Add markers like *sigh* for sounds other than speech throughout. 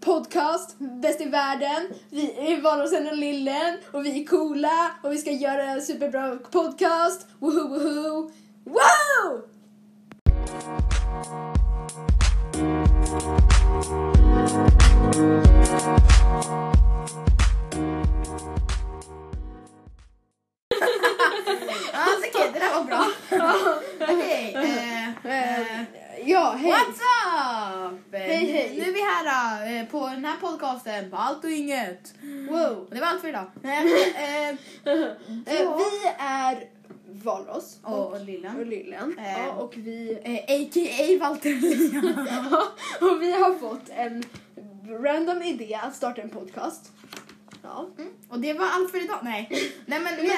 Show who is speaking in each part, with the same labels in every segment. Speaker 1: podcast, bäst i världen. Vi är Varosen och Lillen och vi är coola och vi ska göra en superbra podcast. Woho woho! Wow!
Speaker 2: Ja, okej, det där var *laughs* bra. Okej, eh, eh,
Speaker 1: Ja, hej!
Speaker 2: what's up? Eh,
Speaker 1: Hej, hej.
Speaker 2: Nu är vi här då, eh, på den här podcasten, på allt och inget.
Speaker 1: Wow!
Speaker 2: Och det var allt för idag. Nej, men, eh,
Speaker 1: Eh, vi är Valros
Speaker 2: och,
Speaker 1: och,
Speaker 2: och Lillan.
Speaker 1: och Lillen.
Speaker 2: Eh.
Speaker 1: Ja, och vi... *laughs*
Speaker 2: Eh, A.k.a. Walter Lian.
Speaker 1: Ja, och vi har fått en random idé att starta en podcast. Ja.
Speaker 2: Och det var allt för idag. Nej, Nej men, men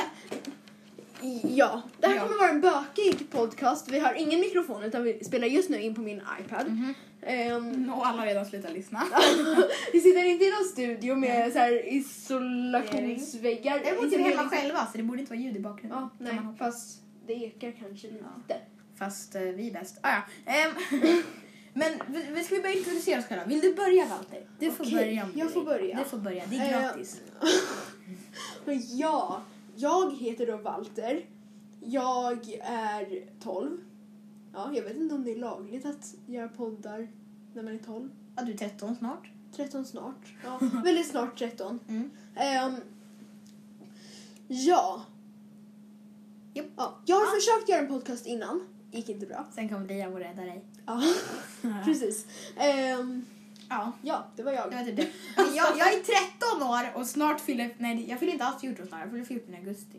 Speaker 1: Ja, det här
Speaker 2: Ja.
Speaker 1: kommer vara en bökig podcast. Vi har ingen mikrofon utan vi spelar just nu in på min iPad.
Speaker 2: Mhm.
Speaker 1: Ehm,
Speaker 2: och alla har redan slutat lyssna.
Speaker 1: *laughs* vi sitter inte i någon studio med så här isolationsväggar.
Speaker 2: Däremot är vi
Speaker 1: Isolering.
Speaker 2: hemma själva så det borde inte vara ljud i bakgrunden.
Speaker 1: Ja,
Speaker 2: Kan
Speaker 1: nej,
Speaker 2: man hoppas.
Speaker 1: fast det ekar kanske lite.
Speaker 2: Fast eh, vi är bäst. Ah, ja. Ehm, *laughs* men vi- vi ska vi börja introducera oss själva? Vill du börja Walter? Du får
Speaker 1: Okej,
Speaker 2: börja.
Speaker 1: jag får börja.
Speaker 2: Du får börja, det är
Speaker 1: Eh,
Speaker 2: gratis.
Speaker 1: *laughs* Men ja, jag heter då Walter. Jag är 12. Ja, jag vet inte om det är lagligt att göra poddar när man är 12.
Speaker 2: Ja, du är 13 snart.
Speaker 1: 13 snart. *laughs* Ja, väldigt snart 13.
Speaker 2: Mm.
Speaker 1: Ehm, ja.
Speaker 2: Japp.
Speaker 1: ja. Jag har försökt göra en podcast innan. Gick inte bra.
Speaker 2: Sen kommer Liam och rädda dig.
Speaker 1: Ja, *laughs* precis. Ehm,
Speaker 2: ja,
Speaker 1: ja, det var
Speaker 2: det
Speaker 1: jag.
Speaker 2: var *laughs* typ det. Men Jag, jag är 13 år och snart fyller... Nej, jag fyller inte alls 14 snart. Jag fyller 14 i augusti.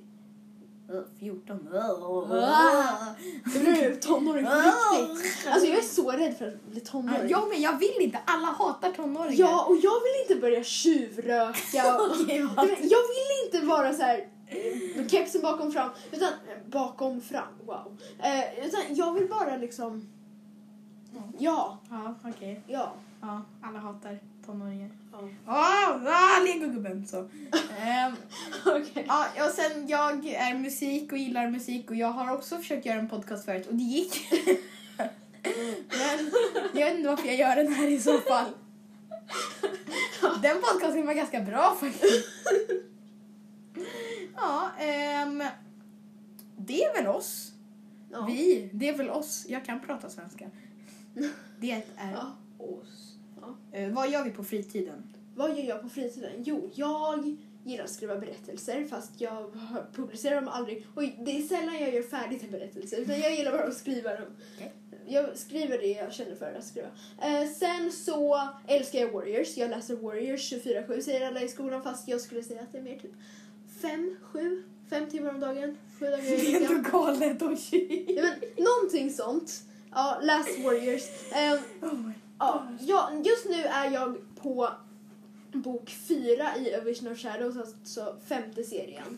Speaker 2: Eh, 14.
Speaker 1: Ah. Nu blev du tonåring på riktigt. Alltså jag är så rädd för att bli tonåring.
Speaker 2: Jag men jag vill inte. Alla hatar tonåringar.
Speaker 1: Ja, och jag vill inte börja *laughs* tjuvröka. Och,
Speaker 2: Okej,
Speaker 1: Nej, men jag vill inte vara så här eh, med kepsen bakom fram, utan eh, bakom fram, wow. Eh, utan jag vill bara liksom,
Speaker 2: Mm.
Speaker 1: ja,
Speaker 2: Ja, okej.
Speaker 1: ja.
Speaker 2: Ja, alla hatar tonåringar.
Speaker 1: Ja.
Speaker 2: Ah, ah, legogubben så. Ehm,
Speaker 1: *laughs* Okej.
Speaker 2: ja, och sen jag är musik och gillar musik och jag har också försökt göra en podcast förut och det gick.
Speaker 1: *laughs*
Speaker 2: Men jag vet inte varför jag gör den här i så *laughs* fall. Den podcasten var ganska bra faktiskt. Ja, ehm, det är väl oss.
Speaker 1: Ja.
Speaker 2: Vi, det är väl oss. Jag kan prata svenska. Det är
Speaker 1: Ja.
Speaker 2: oss.
Speaker 1: Ja.
Speaker 2: Eh, vad gör vi på fritiden?
Speaker 1: Vad gör jag på fritiden? Jo, jag gillar att skriva berättelser fast jag *laughs* publicerar dem aldrig. Och det är sällan jag gör färdigt en berättelse utan jag gillar bara att skriva dem.
Speaker 2: Okej.
Speaker 1: Jag skriver det jag känner för att skriva. Eh, sen så älskar jag Warriors. Jag läser Warriors 24-7 säger alla i skolan fast jag skulle säga att det är mer typ 5, 7, 5 timmar om dagen. 7 dagar i
Speaker 2: *laughs* Det är *laughs*
Speaker 1: veckan.
Speaker 2: ändå galet och tjej.
Speaker 1: Ja, men någonting sånt. Ja, läs Warriors. Ehm,
Speaker 2: Oh
Speaker 1: Ja, ja, just nu är jag på bok fyra i A Vision of Shadows, alltså femte serien.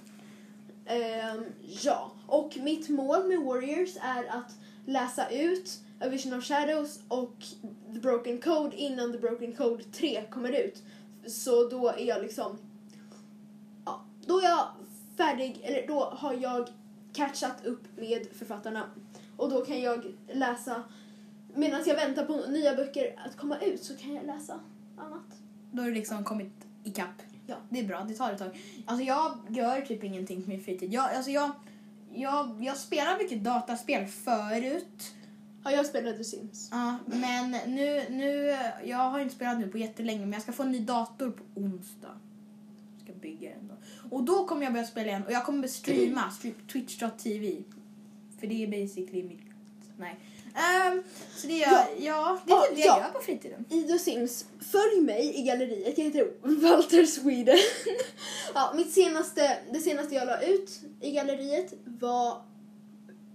Speaker 1: Ehm, ja, och mitt mål med Warriors är att läsa ut A Vision of Shadows och The Broken Code innan The Broken Code 3 kommer ut. Så då är jag liksom... Ja, då är jag färdig, eller då har jag catchat upp med författarna. Och då kan jag läsa Medan jag väntar på nya böcker att komma ut så kan jag läsa annat.
Speaker 2: Då har du liksom kommit ikapp.
Speaker 1: Ja.
Speaker 2: Det är bra, det tar ett tag. Alltså jag gör typ ingenting på min fritid. Jag, alltså jag, jag, jag spelar mycket dataspel förut.
Speaker 1: Ja, jag spelade Sims.
Speaker 2: Ja, men nu, nu, jag har inte spelat nu på jättelänge men jag ska få en ny dator på onsdag. Jag ska bygga den då. Och då kommer jag börja spela igen och jag kommer streama
Speaker 1: Mm.
Speaker 2: stream- twitch.tv. För det är basically mitt... Nej. Ehm, så det gör, ja.
Speaker 1: Ja.
Speaker 2: det är
Speaker 1: Ja,
Speaker 2: typ det jag
Speaker 1: ja.
Speaker 2: gör på fritiden.
Speaker 1: I The Sims, följ mig i galleriet. Jag heter Walter
Speaker 2: *laughs*
Speaker 1: Sweden. ja, mitt senaste, det senaste jag la ut i galleriet var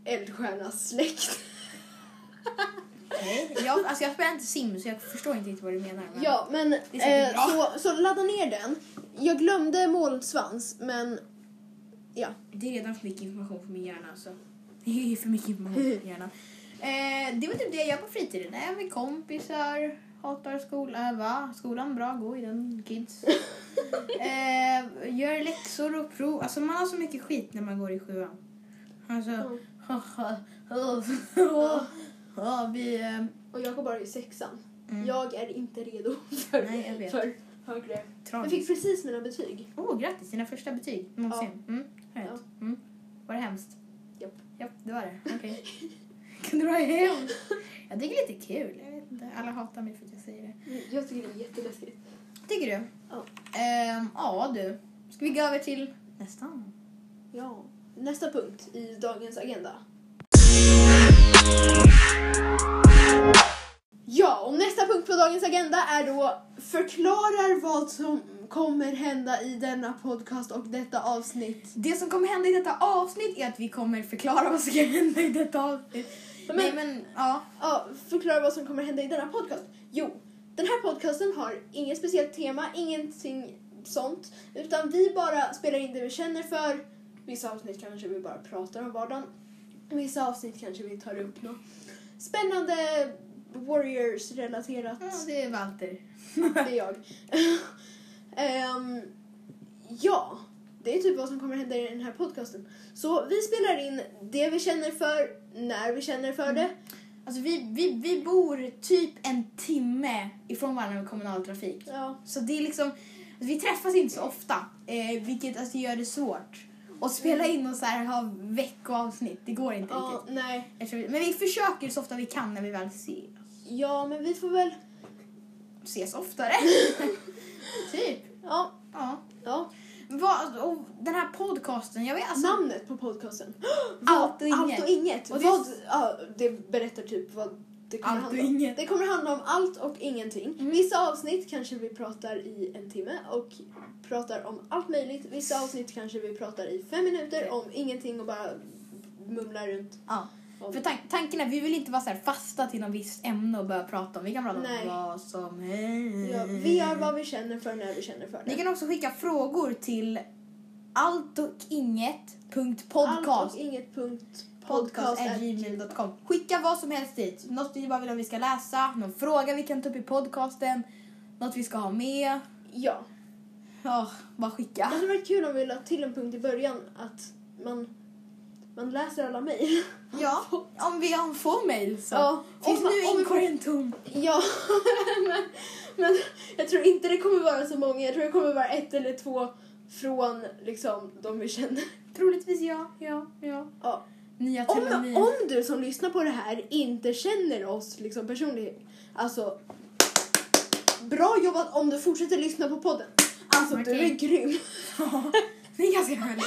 Speaker 1: Eldstjärnas släkt.
Speaker 2: Okej. Jag, alltså jag spelar inte Sims så jag förstår inte riktigt vad du menar. Men...
Speaker 1: Ja, men
Speaker 2: Det är säkert
Speaker 1: eh,
Speaker 2: bra.
Speaker 1: så, så ladda ner den. Jag glömde målsvans, men ja.
Speaker 2: Det är redan för mycket information för min hjärna så. *laughs* Det är för mycket information för hjärnan. *laughs* Eh, det var typ det jag gör på fritiden. Jag är med kompisar, hatar skolan, va? Skolan bra, gå i den *laughs* kids. eh, gör läxor och prov. Alltså man har så mycket skit när man går i sjuan. Alltså, *laughs* ja, vi... Eh, *laughs*
Speaker 1: Och jag går bara i sexan.
Speaker 2: Mm.
Speaker 1: Jag är inte redo för,
Speaker 2: Nej, jag vet.
Speaker 1: för högre. Jag
Speaker 2: Tragiskt.
Speaker 1: fick precis mina betyg.
Speaker 2: Åh, grattis! Dina första betyg någonsin. Mm, härligt. Mm. Var det hemskt?
Speaker 1: Japp.
Speaker 2: Japp, det var det. Okej.
Speaker 1: *laughs*
Speaker 2: Kunde det vara hemskt? Jag tycker det är lite kul. Jag vet inte. Alla hatar mig för att jag säger det.
Speaker 1: Jag tycker det är jätteläskigt.
Speaker 2: Tycker du?
Speaker 1: Ja.
Speaker 2: Ehm, ja, du. Ska vi gå över till nästa?
Speaker 1: Ja. Nästa punkt i dagens agenda. Ja, och nästa punkt på dagens agenda är då förklarar vad som kommer hända i denna podcast och detta avsnitt.
Speaker 2: Det som kommer hända i detta avsnitt är att vi kommer förklara vad som ska hända i detta avsnitt.
Speaker 1: Men-
Speaker 2: Nej, men ja.
Speaker 1: Ja, förklara vad som kommer hända i denna podcast. Jo, den här podcasten har inget speciellt tema, ingenting sånt. Utan vi bara spelar in det vi känner för. Vissa avsnitt kanske vi bara pratar om vardagen. Vissa avsnitt kanske vi tar upp något spännande Warriors-relaterat.
Speaker 2: ja, det är Walter.
Speaker 1: Det är jag. *laughs* Ehm, ja, det är typ vad som kommer hända i den här podcasten. Så vi spelar in det vi känner för, när vi känner för det.
Speaker 2: Alltså, vi, vi, vi bor typ en timme ifrån varandra med kommunaltrafik.
Speaker 1: Ja.
Speaker 2: Så det är liksom, vi träffas inte så ofta, eh, vilket alltså gör det svårt. Och spela in och så här, ha veckoavsnitt, det går inte
Speaker 1: Ja,
Speaker 2: riktigt.
Speaker 1: nej.
Speaker 2: Eftersom vi- Men vi försöker så ofta vi kan när vi väl ses.
Speaker 1: Ja, men vi får väl... *laughs*
Speaker 2: Ses oftare. typ.
Speaker 1: Ja.
Speaker 2: Ja.
Speaker 1: ja.
Speaker 2: Vad, och den här podcasten, jag vet alltså...
Speaker 1: Namnet på podcasten. *gasps*
Speaker 2: Allt och
Speaker 1: Allt
Speaker 2: inget.
Speaker 1: och inget.
Speaker 2: Och det-
Speaker 1: det... Vad, ja, det berättar typ vad det kommer
Speaker 2: Allt och
Speaker 1: handla om.
Speaker 2: inget.
Speaker 1: Det kommer handla om allt och ingenting.
Speaker 2: Mm.
Speaker 1: Vissa avsnitt kanske vi pratar i en timme och pratar om allt möjligt. Vissa avsnitt kanske vi pratar i fem minuter om ingenting och bara mumlar runt.
Speaker 2: Ja.
Speaker 1: Om.
Speaker 2: För tan- tanken är, vi vill inte vara så här fasta till något visst ämne och börja prata om. Vi kan prata om
Speaker 1: Nej.
Speaker 2: vad som helst.
Speaker 1: Ja, vi gör vad vi känner för när vi känner för
Speaker 2: Ni
Speaker 1: det.
Speaker 2: kan också skicka frågor till alltochinget.podcast
Speaker 1: Allt och inget punkt podcast är-
Speaker 2: podcast.gmail.com Skicka vad som helst dit. Något vi bara vill att vi ska läsa, någon fråga vi kan ta upp i podcasten, något vi ska ha med.
Speaker 1: Ja.
Speaker 2: Ja, bara skicka.
Speaker 1: Alltså, Det hade varit kul om vi la till en punkt i början att man, man läser alla mejl.
Speaker 2: Ja, om vi har- får mejl så.
Speaker 1: Ja,
Speaker 2: Tills
Speaker 1: om man-
Speaker 2: nu
Speaker 1: om vi får-
Speaker 2: inkorgen tom.
Speaker 1: Ja, *laughs* men, men jag tror inte det kommer vara så många. Jag tror det kommer vara ett eller två från liksom de vi känner.
Speaker 2: Troligtvis ja, ja, ja.
Speaker 1: Ja.
Speaker 2: Nya
Speaker 1: Om,
Speaker 2: Telenor.
Speaker 1: om du som lyssnar på det här inte känner oss liksom personligen, alltså bra jobbat om du fortsätter lyssna på podden. Alltså du
Speaker 2: Okej.
Speaker 1: är grym.
Speaker 2: Ja, det är ganska härligt.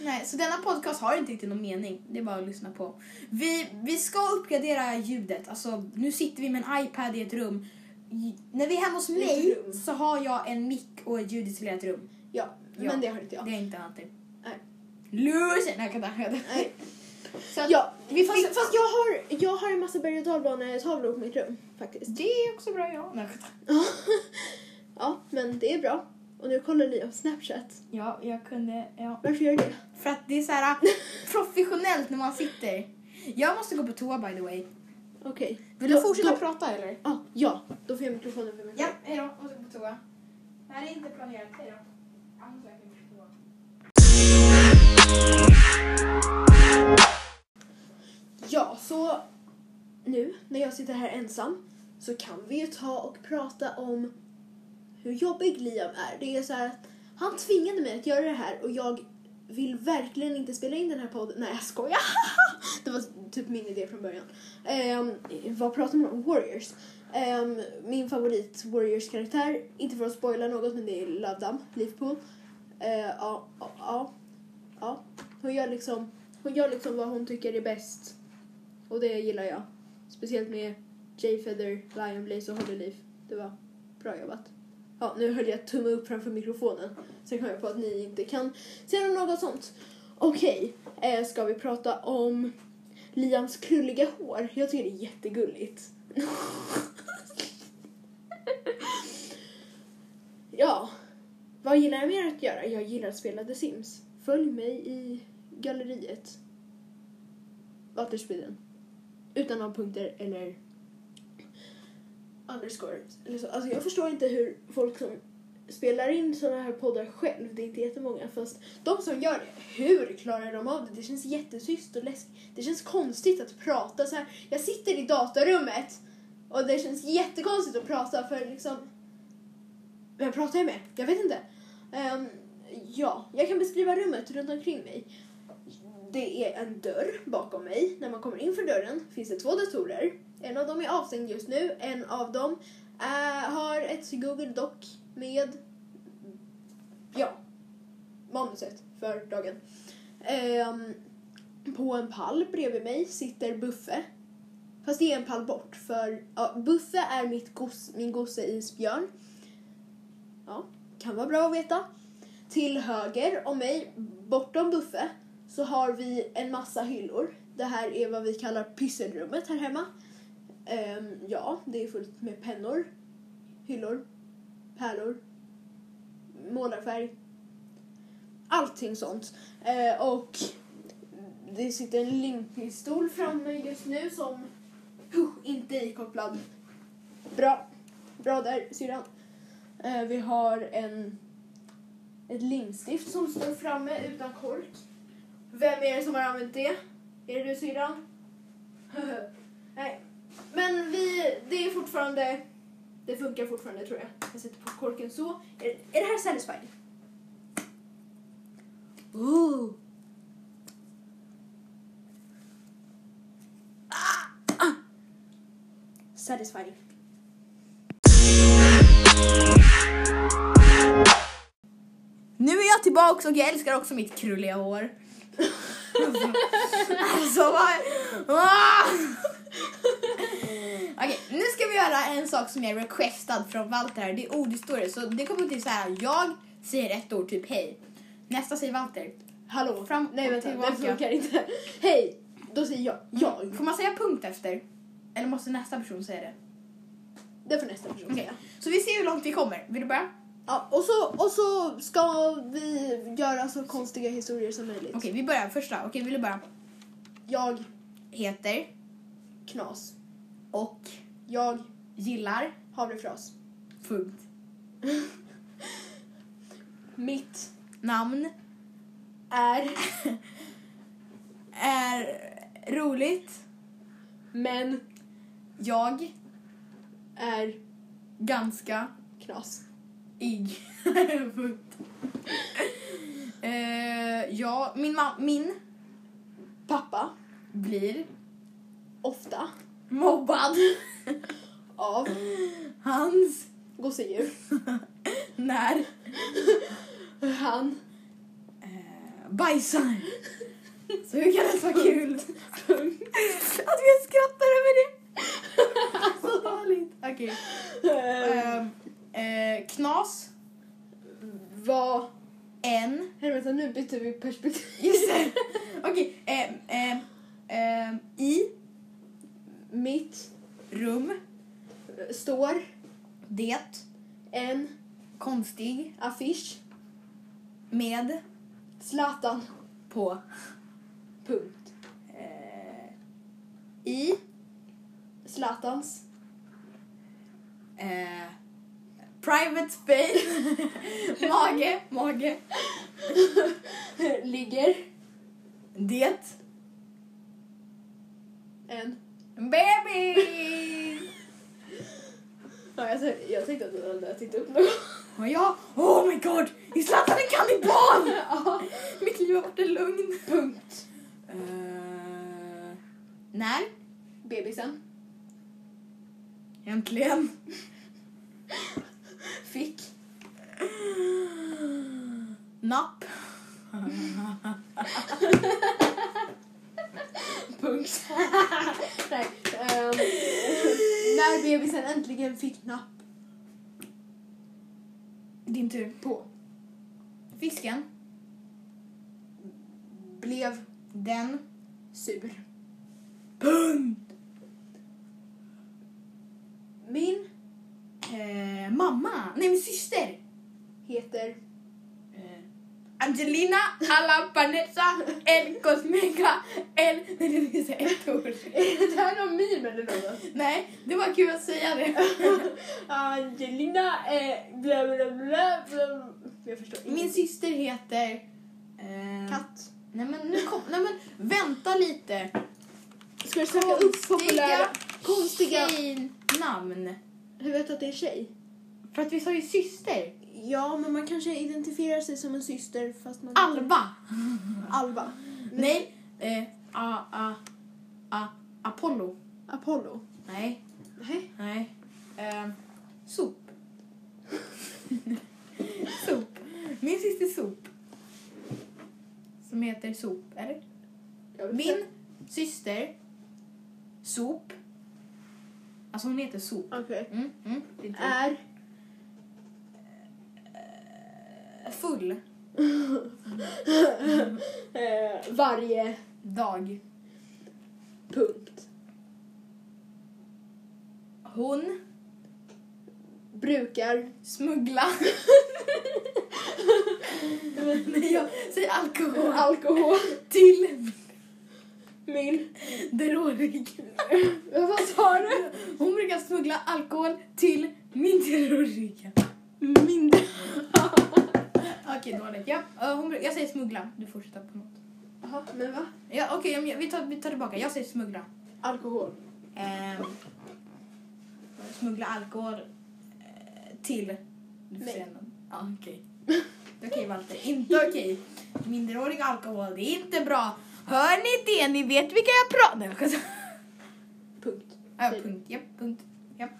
Speaker 2: Nej, så denna podcast har inte riktigt någon mening. Det är bara att lyssna på. Vi, vi ska uppgradera ljudet. Alltså, nu sitter vi med en iPad i ett rum. I- När vi är hemma hos
Speaker 1: I ett
Speaker 2: mig
Speaker 1: rum.
Speaker 2: så har jag en mick och ett ljudisolerat rum.
Speaker 1: Ja,
Speaker 2: Ja.
Speaker 1: men det har inte
Speaker 2: Det
Speaker 1: jag.
Speaker 2: är inte alltid.
Speaker 1: Nej.
Speaker 2: Loser! Nej, jag kan inte
Speaker 1: Nej.
Speaker 2: Så att,
Speaker 1: Ja,
Speaker 2: vi
Speaker 1: fast,
Speaker 2: fick-
Speaker 1: fast jag, har, jag har en massa berg och dalbanetavlor på mitt rum faktiskt.
Speaker 2: *laughs* Det är också bra, ja. Nej, jag kan inte.
Speaker 1: ja, men det är bra. Och nu kollar Liam Snapchat.
Speaker 2: Ja, jag kunde... Ja.
Speaker 1: Varför gör du det? *laughs*
Speaker 2: För att det är så här professionellt när man sitter. Jag måste gå på toa, by the way.
Speaker 1: Okej.
Speaker 2: Vill du
Speaker 1: Då-
Speaker 2: fortsätta
Speaker 1: då-
Speaker 2: prata, eller?
Speaker 1: Ah, ja, då får jag mikrofonen för mig
Speaker 2: Ja,
Speaker 1: själv.
Speaker 2: hejdå. Jag måste gå på toa. Det här är inte planerat. Hejdå. Annars är jag inte på toa.
Speaker 1: Ja, så nu när jag sitter här ensam så kan vi ju ta och prata om hur jobbig Liam är. Det är så här att han tvingade mig att göra det här och jag vill verkligen inte spela in den här podden. Nej, jag skojar. *laughs* Det var typ min idé från början. Ehm, vad pratar man om? Warriors. Ehm, min favorit Warriors-karaktär, inte för att spoila något, men det är Lavdam, Liverpool. Ehm, Ja, ja, ja. ja. Hon gör liksom, hon gör liksom vad hon tycker är bäst. Och det gillar jag. Speciellt med Jay Feather, Lion Blaze och Holy Leaf. Det var bra jobbat. Ja, nu höll jag tumme upp framför mikrofonen. Sen kom jag på att ni inte kan se något sånt. Okej, eh, ska vi prata om Liams krulliga hår? Jag tycker det är jättegulligt. *laughs* ja, vad gillar jag mer att göra? Jag gillar att spela The Sims. Följ mig i galleriet. Vattenspiden. Utan några punkter eller underscores. Eller så. Alltså jag förstår inte hur folk som spelar in sådana här poddar själv, det är inte jättemånga, fast de som gör det, hur klarar de av det? Det känns jättetyst och läskigt. Det känns konstigt att prata så här. Jag sitter i datarummet Och det känns jättekonstigt att prata för liksom... Vem pratar jag med? Jag vet inte. Ehm, ja, jag kan beskriva rummet runt omkring mig. Det är en dörr bakom mig. När man kommer in för dörren finns det två datorer. En av dem är avstängd just nu. En av dem eh, har ett Google Doc med ja, manuset för dagen. Ehm, på en pall bredvid mig sitter Buffe. Fast det är en pall bort för ja, Buffe är mitt gos, min gosse isbjörn. Ja, kan vara bra att veta. Till höger om mig, bortom Buffe, så har vi en massa hyllor. Det här är vad vi kallar pysselrummet här hemma. Ehm, ja, det är fullt med pennor, hyllor, pärlor, målarfärg. Allting sånt. Eh, och det sitter en limpistol framme just nu som huh, inte är ikopplad. Bra. Bra där, syrran. Eh, vi har en, ett limstift som står framme utan kork. Vem är det som har använt det? Är det du syrran? *laughs* Nej. Men vi, det är fortfarande, det funkar fortfarande tror jag. Jag sätter på korken så. Är, är det här satisfying?
Speaker 2: Ooh.
Speaker 1: Satisfying.
Speaker 2: Nu är jag tillbaks och jag älskar också mitt krulliga hår. alltså vad... Ah!
Speaker 1: Mm.
Speaker 2: Okej, nu ska vi göra en sak som är requestad från Walter här. Det är ordhistorier. Så det kommer till så här, jag säger ett ord, typ hej. Nästa säger Walter.
Speaker 1: Hallå?
Speaker 2: Fram
Speaker 1: Nej
Speaker 2: och
Speaker 1: vänta, det
Speaker 2: tillbaka.
Speaker 1: funkar inte. *laughs* Hej! Då säger jag jag.
Speaker 2: Får man säga punkt efter? Eller måste nästa person säga det?
Speaker 1: Det får nästa person
Speaker 2: Okej.
Speaker 1: säga.
Speaker 2: Så vi ser hur långt vi kommer. Vill du börja?
Speaker 1: Ja, och, så, och så ska vi göra så konstiga historier som möjligt.
Speaker 2: Okej, vi börjar första. Okej, vill du börja?
Speaker 1: Jag
Speaker 2: Heter
Speaker 1: knas.
Speaker 2: och
Speaker 1: Jag
Speaker 2: gillar.
Speaker 1: havrefras.
Speaker 2: Punkt.
Speaker 1: Mitt
Speaker 2: Namn *laughs*
Speaker 1: är
Speaker 2: är roligt.
Speaker 1: men
Speaker 2: Jag
Speaker 1: är
Speaker 2: ganska
Speaker 1: knas.
Speaker 2: *laughs* Igg. Punkt. Eh, ja, min, ma- min
Speaker 1: Pappa
Speaker 2: blir
Speaker 1: ofta
Speaker 2: mobbad.
Speaker 1: av
Speaker 2: Hans
Speaker 1: gosedjur.
Speaker 2: när
Speaker 1: Han
Speaker 2: eh, bajsar. Så hur kan det vara kul? Att vi skrattar över det. *laughs* Så dåligt. Okej.
Speaker 1: eh,
Speaker 2: Ehm, eh, knas.
Speaker 1: var...
Speaker 2: En.
Speaker 1: Här, vänta, nu byter vi perspektiv.
Speaker 2: Just det. *laughs* Okej. ehm, ehm, ehm, I
Speaker 1: Mitt
Speaker 2: rum.
Speaker 1: eh, *laughs* står
Speaker 2: Det.
Speaker 1: en
Speaker 2: Konstig.
Speaker 1: affisch.
Speaker 2: Med.
Speaker 1: Zlatan.
Speaker 2: På.
Speaker 1: Punkt.
Speaker 2: Eh, I.
Speaker 1: Zlatans. *laughs*
Speaker 2: Eh, private space. *laughs* mage, mage.
Speaker 1: Ligger
Speaker 2: Det.
Speaker 1: en...
Speaker 2: Baby!
Speaker 1: Ja, jag, tänkte- jag tänkte att du hade tittat upp något.
Speaker 2: *laughs* Och jag, oh my god, är Zlatan en kannibal?
Speaker 1: ja,
Speaker 2: Mitt liv har varit en lugn.
Speaker 1: punkt.
Speaker 2: Eh, när?
Speaker 1: Bebisen
Speaker 2: Äntligen.
Speaker 1: fick
Speaker 2: Napp. *laughs*
Speaker 1: punkt. Nej, ehm, när bebisen äntligen fick napp
Speaker 2: Din tur.
Speaker 1: på
Speaker 2: Fisken.
Speaker 1: blev
Speaker 2: Den.
Speaker 1: sur.
Speaker 2: Punkt.
Speaker 1: Min
Speaker 2: Eh, mamma. Nej, min syster.
Speaker 1: heter *laughs*
Speaker 2: Eh, Angelina Alapanessa El Cosmica El... Nej, det finns ett ord.
Speaker 1: Är det här någon meme eller något?
Speaker 2: Nej, det var kul att säga det.
Speaker 1: *laughs* Angelina eh, bla bla bla bla. Jag förstår inte.
Speaker 2: Min syster heter... Eh,
Speaker 1: katt.
Speaker 2: Nej men, nu kom, nej men vänta lite.
Speaker 1: Ska du söka upp
Speaker 2: Konstiga
Speaker 1: populära konstiga
Speaker 2: Tjejen namn.
Speaker 1: Hur vet du att det är tjej?
Speaker 2: För att vi sa ju syster.
Speaker 1: Ja, men man kanske identifierar sig som en syster fast man...
Speaker 2: Alva.
Speaker 1: Alva. Men-
Speaker 2: Nej. Eh, a, a, a, Apollo.
Speaker 1: Apollo.
Speaker 2: Nej.
Speaker 1: Nej.
Speaker 2: Nej. Eh, sop. *laughs* sop. Min syster Sop. Som heter Sop, eller?
Speaker 1: Jag vet
Speaker 2: Min
Speaker 1: inte.
Speaker 2: syster Sop. Alltså hon heter Sop.
Speaker 1: Okej.
Speaker 2: Mm, mm, det är inte-
Speaker 1: Är...
Speaker 2: Full
Speaker 1: eh, varje
Speaker 2: dag.
Speaker 1: punkt.
Speaker 2: Hon
Speaker 1: Brukar...
Speaker 2: smuggla. Nej, jag säger alkohol.
Speaker 1: Alkohol.
Speaker 2: till
Speaker 1: Min... *laughs*
Speaker 2: Derorig.
Speaker 1: Vad fan sa du?
Speaker 2: Hon brukar smuggla alkohol till min Derorig.
Speaker 1: Min...
Speaker 2: Okej, dåligt. Ja, eh, hon, bru- jag säger smuggla. Du fortsätter på något.
Speaker 1: Jaha, men va?
Speaker 2: Ja, okej, men jag- vi, tar, vi tar tillbaka. Jag säger smuggla.
Speaker 1: Alkohol.
Speaker 2: Ehm, smuggla alkohol eh, till... Du får
Speaker 1: Nej.
Speaker 2: säga någon. Ja, okej. Det är *laughs* Okej, Walter. Inte okej. Minderårig alkohol, det är inte bra. Hör ni det? Ni vet vilka jag pratar... Nej, jag skämtar.
Speaker 1: Punkt.
Speaker 2: *laughs* Ja, punkt. Japp, punkt. Japp.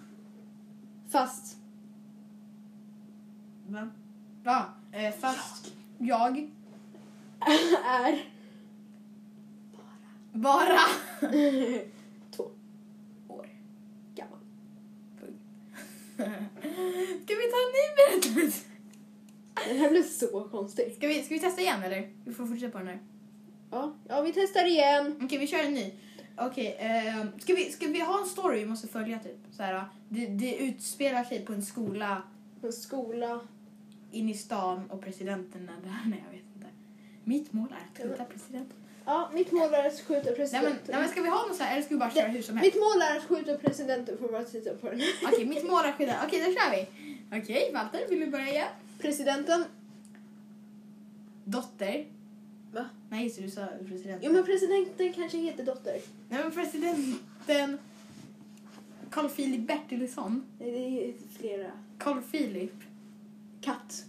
Speaker 1: Fast...
Speaker 2: Va? Va? Eh, fast jag
Speaker 1: är... *laughs*
Speaker 2: bara... *laughs*
Speaker 1: Två
Speaker 2: År.
Speaker 1: gammal.
Speaker 2: *laughs* Ska vi ta en ny berättelse?
Speaker 1: Den här blev så konstig.
Speaker 2: Ska vi, ska vi testa igen eller? Vi får fortsätta på den här.
Speaker 1: Ja, ja vi testar igen.
Speaker 2: Okej, vi kör en ny. Okej, ehm, ska, vi, ska vi ha en story vi måste följa typ? Så här, det, det utspelar sig på en skola
Speaker 1: En skola.
Speaker 2: in i stan och presidenten är där. *laughs* Nej, jag vet inte. Mitt mål är att skjuta presidenten.
Speaker 1: Ja, mitt mål är att skjuta
Speaker 2: Nej men,
Speaker 1: presidenten.
Speaker 2: nej men ska vi ha något så här eller ska vi bara köra hur som
Speaker 1: *laughs*
Speaker 2: helst?
Speaker 1: Mitt mål är att skjuta presidenten för att titta på den här.
Speaker 2: Okej, mitt mål är skydda. Okej, då kör vi. Okej, Walter, vill du börja igen?
Speaker 1: Presidenten.
Speaker 2: Dotter.
Speaker 1: Va?
Speaker 2: Nej, just det, du sa presidenten.
Speaker 1: Jo men presidenten kanske heter dotter.
Speaker 2: Nej, men presidenten... Carl Philip Bertilsson.
Speaker 1: Nej, Det är flera.
Speaker 2: Carl Philip.
Speaker 1: Katt.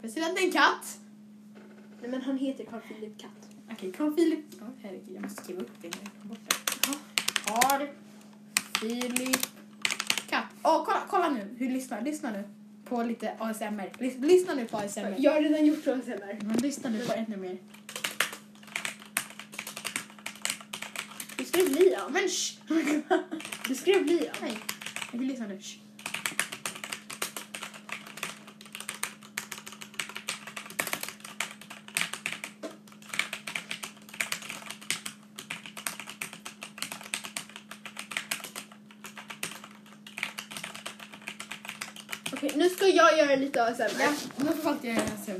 Speaker 2: Presidenten Katt.
Speaker 1: Nej men han heter Carl Philip Katt.
Speaker 2: Okej, Carl Philip... Åh, herregud, jag måste skriva upp det. när jag kommer bort det. Carl Philip Katt. Åh, kolla, kolla nu. Hur, lyssna, lyssna nu på lite ASMR. Lys, lyssna nu på ASMR.
Speaker 1: Jag har redan gjort ASMR.
Speaker 2: Men lyssna nu på ännu mer.
Speaker 1: Du skrev Liam.
Speaker 2: Men *laughs* Oh shh!
Speaker 1: Du skrev Liam.
Speaker 2: Nej, jag vill lyssna nu. Shh.
Speaker 1: Okej, nu ska jag göra lite ASMR.
Speaker 2: Ja, nu får jag göra ASMR.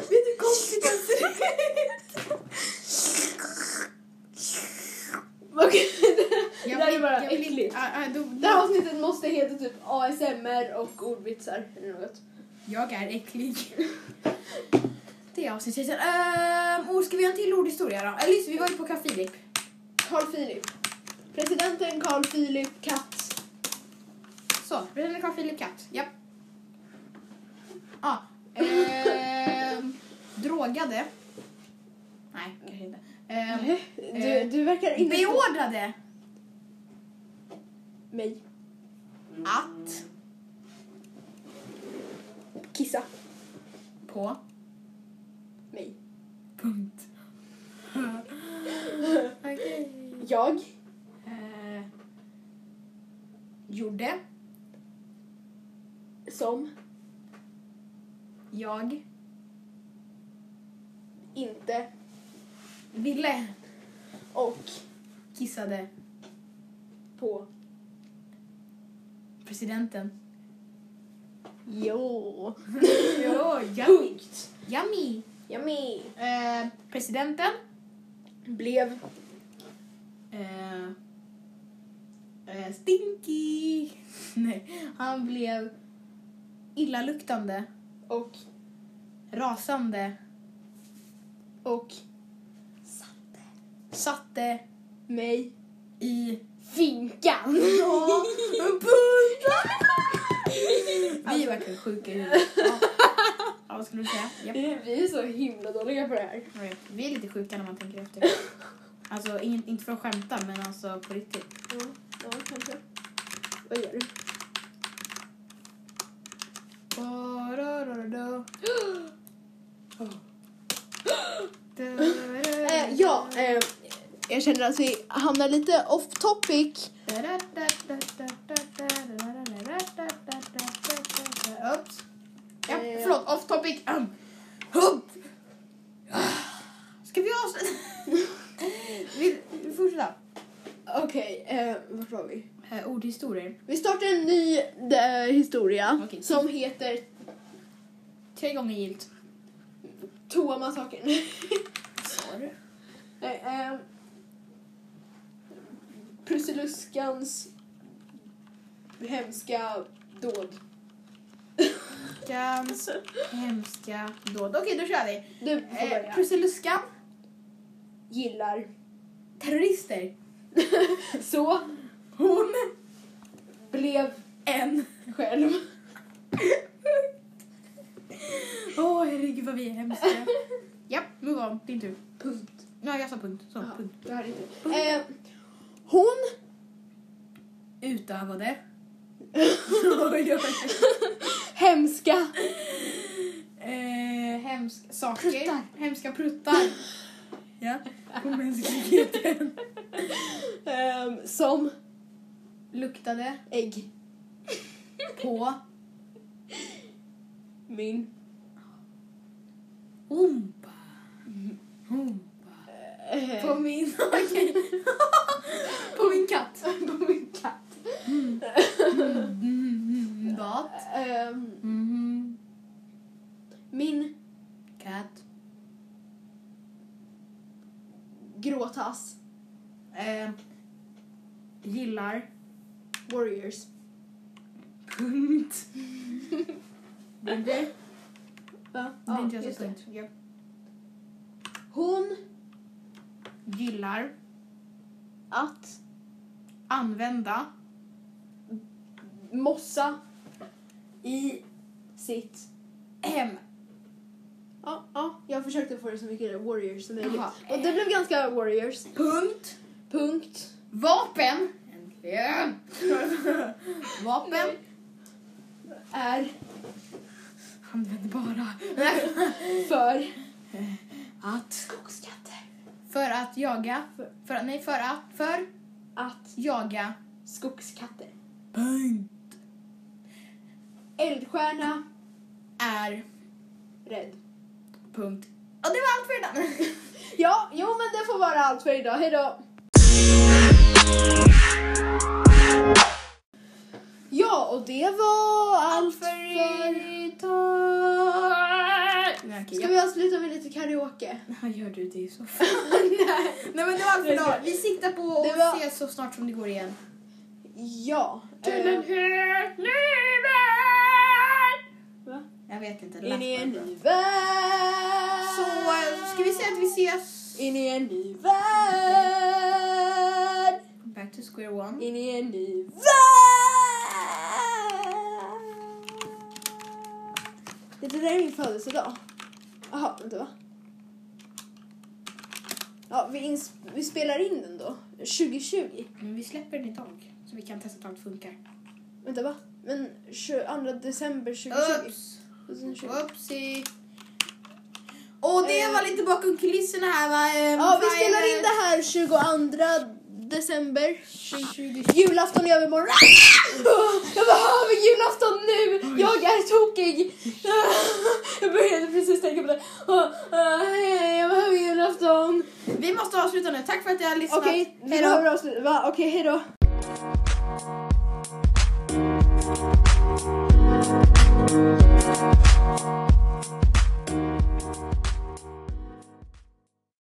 Speaker 2: Vet du hur konstigt det ser ut?
Speaker 1: Okej, det
Speaker 2: Jag
Speaker 1: där är
Speaker 2: vill-
Speaker 1: bara
Speaker 2: jag vill-
Speaker 1: äckligt.
Speaker 2: Ah, ah, då-
Speaker 1: Det här avsnittet måste heta typ ASMR och ordvitsar eller något.
Speaker 2: Jag är äcklig. *laughs* Det är avsnittet. Um, oh, ska vi ha en till ordhistoria då? Eller just, vi var ju på Carl Philip.
Speaker 1: Carl Philip. Presidenten Carl Philip Katt.
Speaker 2: Så, president Carl Philip Katt. Japp. Ja. ehm, drogade. Nej, kanske inte. Ehm,
Speaker 1: Du, du verkar inte...
Speaker 2: beordrade
Speaker 1: Mig.
Speaker 2: att
Speaker 1: Kissa.
Speaker 2: på
Speaker 1: Mig.
Speaker 2: punkt. Okej.
Speaker 1: Jag.
Speaker 2: Eh, gjorde
Speaker 1: Som.
Speaker 2: jag
Speaker 1: Inte.
Speaker 2: ville
Speaker 1: Och.
Speaker 2: kissade
Speaker 1: På.
Speaker 2: presidenten.
Speaker 1: *laughs* Jo.
Speaker 2: Jo, yummy.
Speaker 1: Punkt.
Speaker 2: yummy.
Speaker 1: Yummy.
Speaker 2: Eh, presidenten
Speaker 1: Blev.
Speaker 2: eh, eh, stinky. *laughs* Nej, han blev illaluktande,
Speaker 1: Och.
Speaker 2: rasande,
Speaker 1: Och.
Speaker 2: satte satte
Speaker 1: Mig.
Speaker 2: i...
Speaker 1: Finkan.
Speaker 2: Ja, en pulka! Vi var kanske sjuka i huvudet. Ja. Ja, vad skulle du säga? Japp.
Speaker 1: Vi är så himla dåliga på det här.
Speaker 2: Jag vet. Vi är lite sjuka när man tänker efter. Alltså, ingen, inte för att skämta, men alltså på riktigt.
Speaker 1: Ja, ja kanske. Vad gör du? Eh, ja, eh, jag känner att vi hamnar lite off topic.
Speaker 2: Oops. Ja,
Speaker 1: Eh.
Speaker 2: förlåt. Off topic. Um. Hup. Ah. Ska vi avsluta? *laughs* vi, vi fortsätter.
Speaker 1: Okej, eh, vart var vi?
Speaker 2: Eh, ordhistorier.
Speaker 1: Vi startar en ny eh, historia
Speaker 2: Okej.
Speaker 1: som heter
Speaker 2: Tre gånger gilt.
Speaker 1: Toamassakern.
Speaker 2: Sa du?
Speaker 1: Nej, ehm, Prussiluskans hemska dåd.
Speaker 2: *laughs* Veckans hemska dåd. Okej, då kör vi.
Speaker 1: Du får
Speaker 2: Eh,
Speaker 1: börja.
Speaker 2: Prussiluskan
Speaker 1: Gillar.
Speaker 2: terrorister.
Speaker 1: *laughs* Så
Speaker 2: Hon,
Speaker 1: blev
Speaker 2: en.
Speaker 1: själv.
Speaker 2: Åh, herregud vad vi är hemska. *laughs* Japp, move on. Din tur.
Speaker 1: Punkt.
Speaker 2: Ja, jag sa punkt. Så,
Speaker 1: Ja,
Speaker 2: punkt.
Speaker 1: det här är inte. Eh, hon
Speaker 2: *laughs* Utövade. Oj, oj, oj.
Speaker 1: hemska
Speaker 2: *laughs* eh, hemska saker.
Speaker 1: Pruttar.
Speaker 2: Hemska pruttar. *laughs* ja, på mänskligheten.
Speaker 1: ehm, som
Speaker 2: Luktade
Speaker 1: ägg.
Speaker 2: på
Speaker 1: Min.
Speaker 2: humpa.
Speaker 1: Mm.
Speaker 2: Humpa.
Speaker 1: Eh,
Speaker 2: På min... *laughs* Okej. på min
Speaker 1: *laughs*
Speaker 2: katt.
Speaker 1: på min katt.
Speaker 2: Mm, Bat.
Speaker 1: Ehm,
Speaker 2: Mhm.
Speaker 1: min
Speaker 2: Katt.
Speaker 1: gråtass.
Speaker 2: Eh, gillar.
Speaker 1: Warriors. *laughs*
Speaker 2: Punkt. Det
Speaker 1: Va?
Speaker 2: är inte jag
Speaker 1: just
Speaker 2: som
Speaker 1: det.
Speaker 2: punkt.
Speaker 1: Hon
Speaker 2: Gillar.
Speaker 1: att
Speaker 2: Använda.
Speaker 1: mossa
Speaker 2: I.
Speaker 1: sitt...
Speaker 2: Hem.
Speaker 1: Ja, ja, jag försökte få det så mycket warriors som möjligt.
Speaker 2: Jaha.
Speaker 1: Och det blev ganska warriors.
Speaker 2: Punkt.
Speaker 1: Punkt.
Speaker 2: Vapen. Äntligen. Vapen.
Speaker 1: Är
Speaker 2: Användbara.
Speaker 1: för...
Speaker 2: Att.
Speaker 1: Skogskatter.
Speaker 2: För att jaga.
Speaker 1: För-
Speaker 2: För att, nej, för att. För
Speaker 1: Att
Speaker 2: jaga.
Speaker 1: skogskatter.
Speaker 2: Punkt.
Speaker 1: Eldstjärna.
Speaker 2: Är.
Speaker 1: Rädd.
Speaker 2: Punkt. Och det var allt för idag.
Speaker 1: Ja, jo men det får vara allt för idag. Hejdå! Ja, och det var allt för...
Speaker 2: idag. Nej, okej,
Speaker 1: Ska
Speaker 2: jag-
Speaker 1: vi avsluta med lite karaoke?
Speaker 2: Ja, gör du det i så fall. Nej men det var allt för idag. Vi siktar på att
Speaker 1: Det var-
Speaker 2: ses så snart som det går igen.
Speaker 1: *laughs* Ja. eh,
Speaker 2: helt ny värld!
Speaker 1: Va?
Speaker 2: Jag vet inte. det
Speaker 1: In i
Speaker 2: lät
Speaker 1: en
Speaker 2: bara bra.
Speaker 1: ny värld.
Speaker 2: Så eh, ska vi säga att vi ses...
Speaker 1: In i en ny värld.
Speaker 2: Back to square one.
Speaker 1: In i en ny värld. Det där är min födelsedag. Jaha, vänta va? Ja, vi, ins- vi spelar in den då. 2020.
Speaker 2: Men vi släpper den idag. Så vi kan testa att allt funkar.
Speaker 1: Vänta va? Men 22 december 2020.
Speaker 2: Oops!
Speaker 1: 2020.
Speaker 2: Oopsie! Och det
Speaker 1: Eh.
Speaker 2: var lite bakom kulisserna här va? Ehm,
Speaker 1: Ja, vi
Speaker 2: Fire-
Speaker 1: spelar in det här 22 december.
Speaker 2: 2020.
Speaker 1: Julafton i övermorgon. Ah! Jag behöver julafton nu! Jag är tokig! Ah! Jag började precis tänka på det. Ah, ah, hej, Jag behöver julafton.
Speaker 2: Vi måste avsluta nu. Tack för att jag har lyssnat.
Speaker 1: Okej, vi
Speaker 2: Hej då.
Speaker 1: behöver avsluta. Va? Okej, hejdå.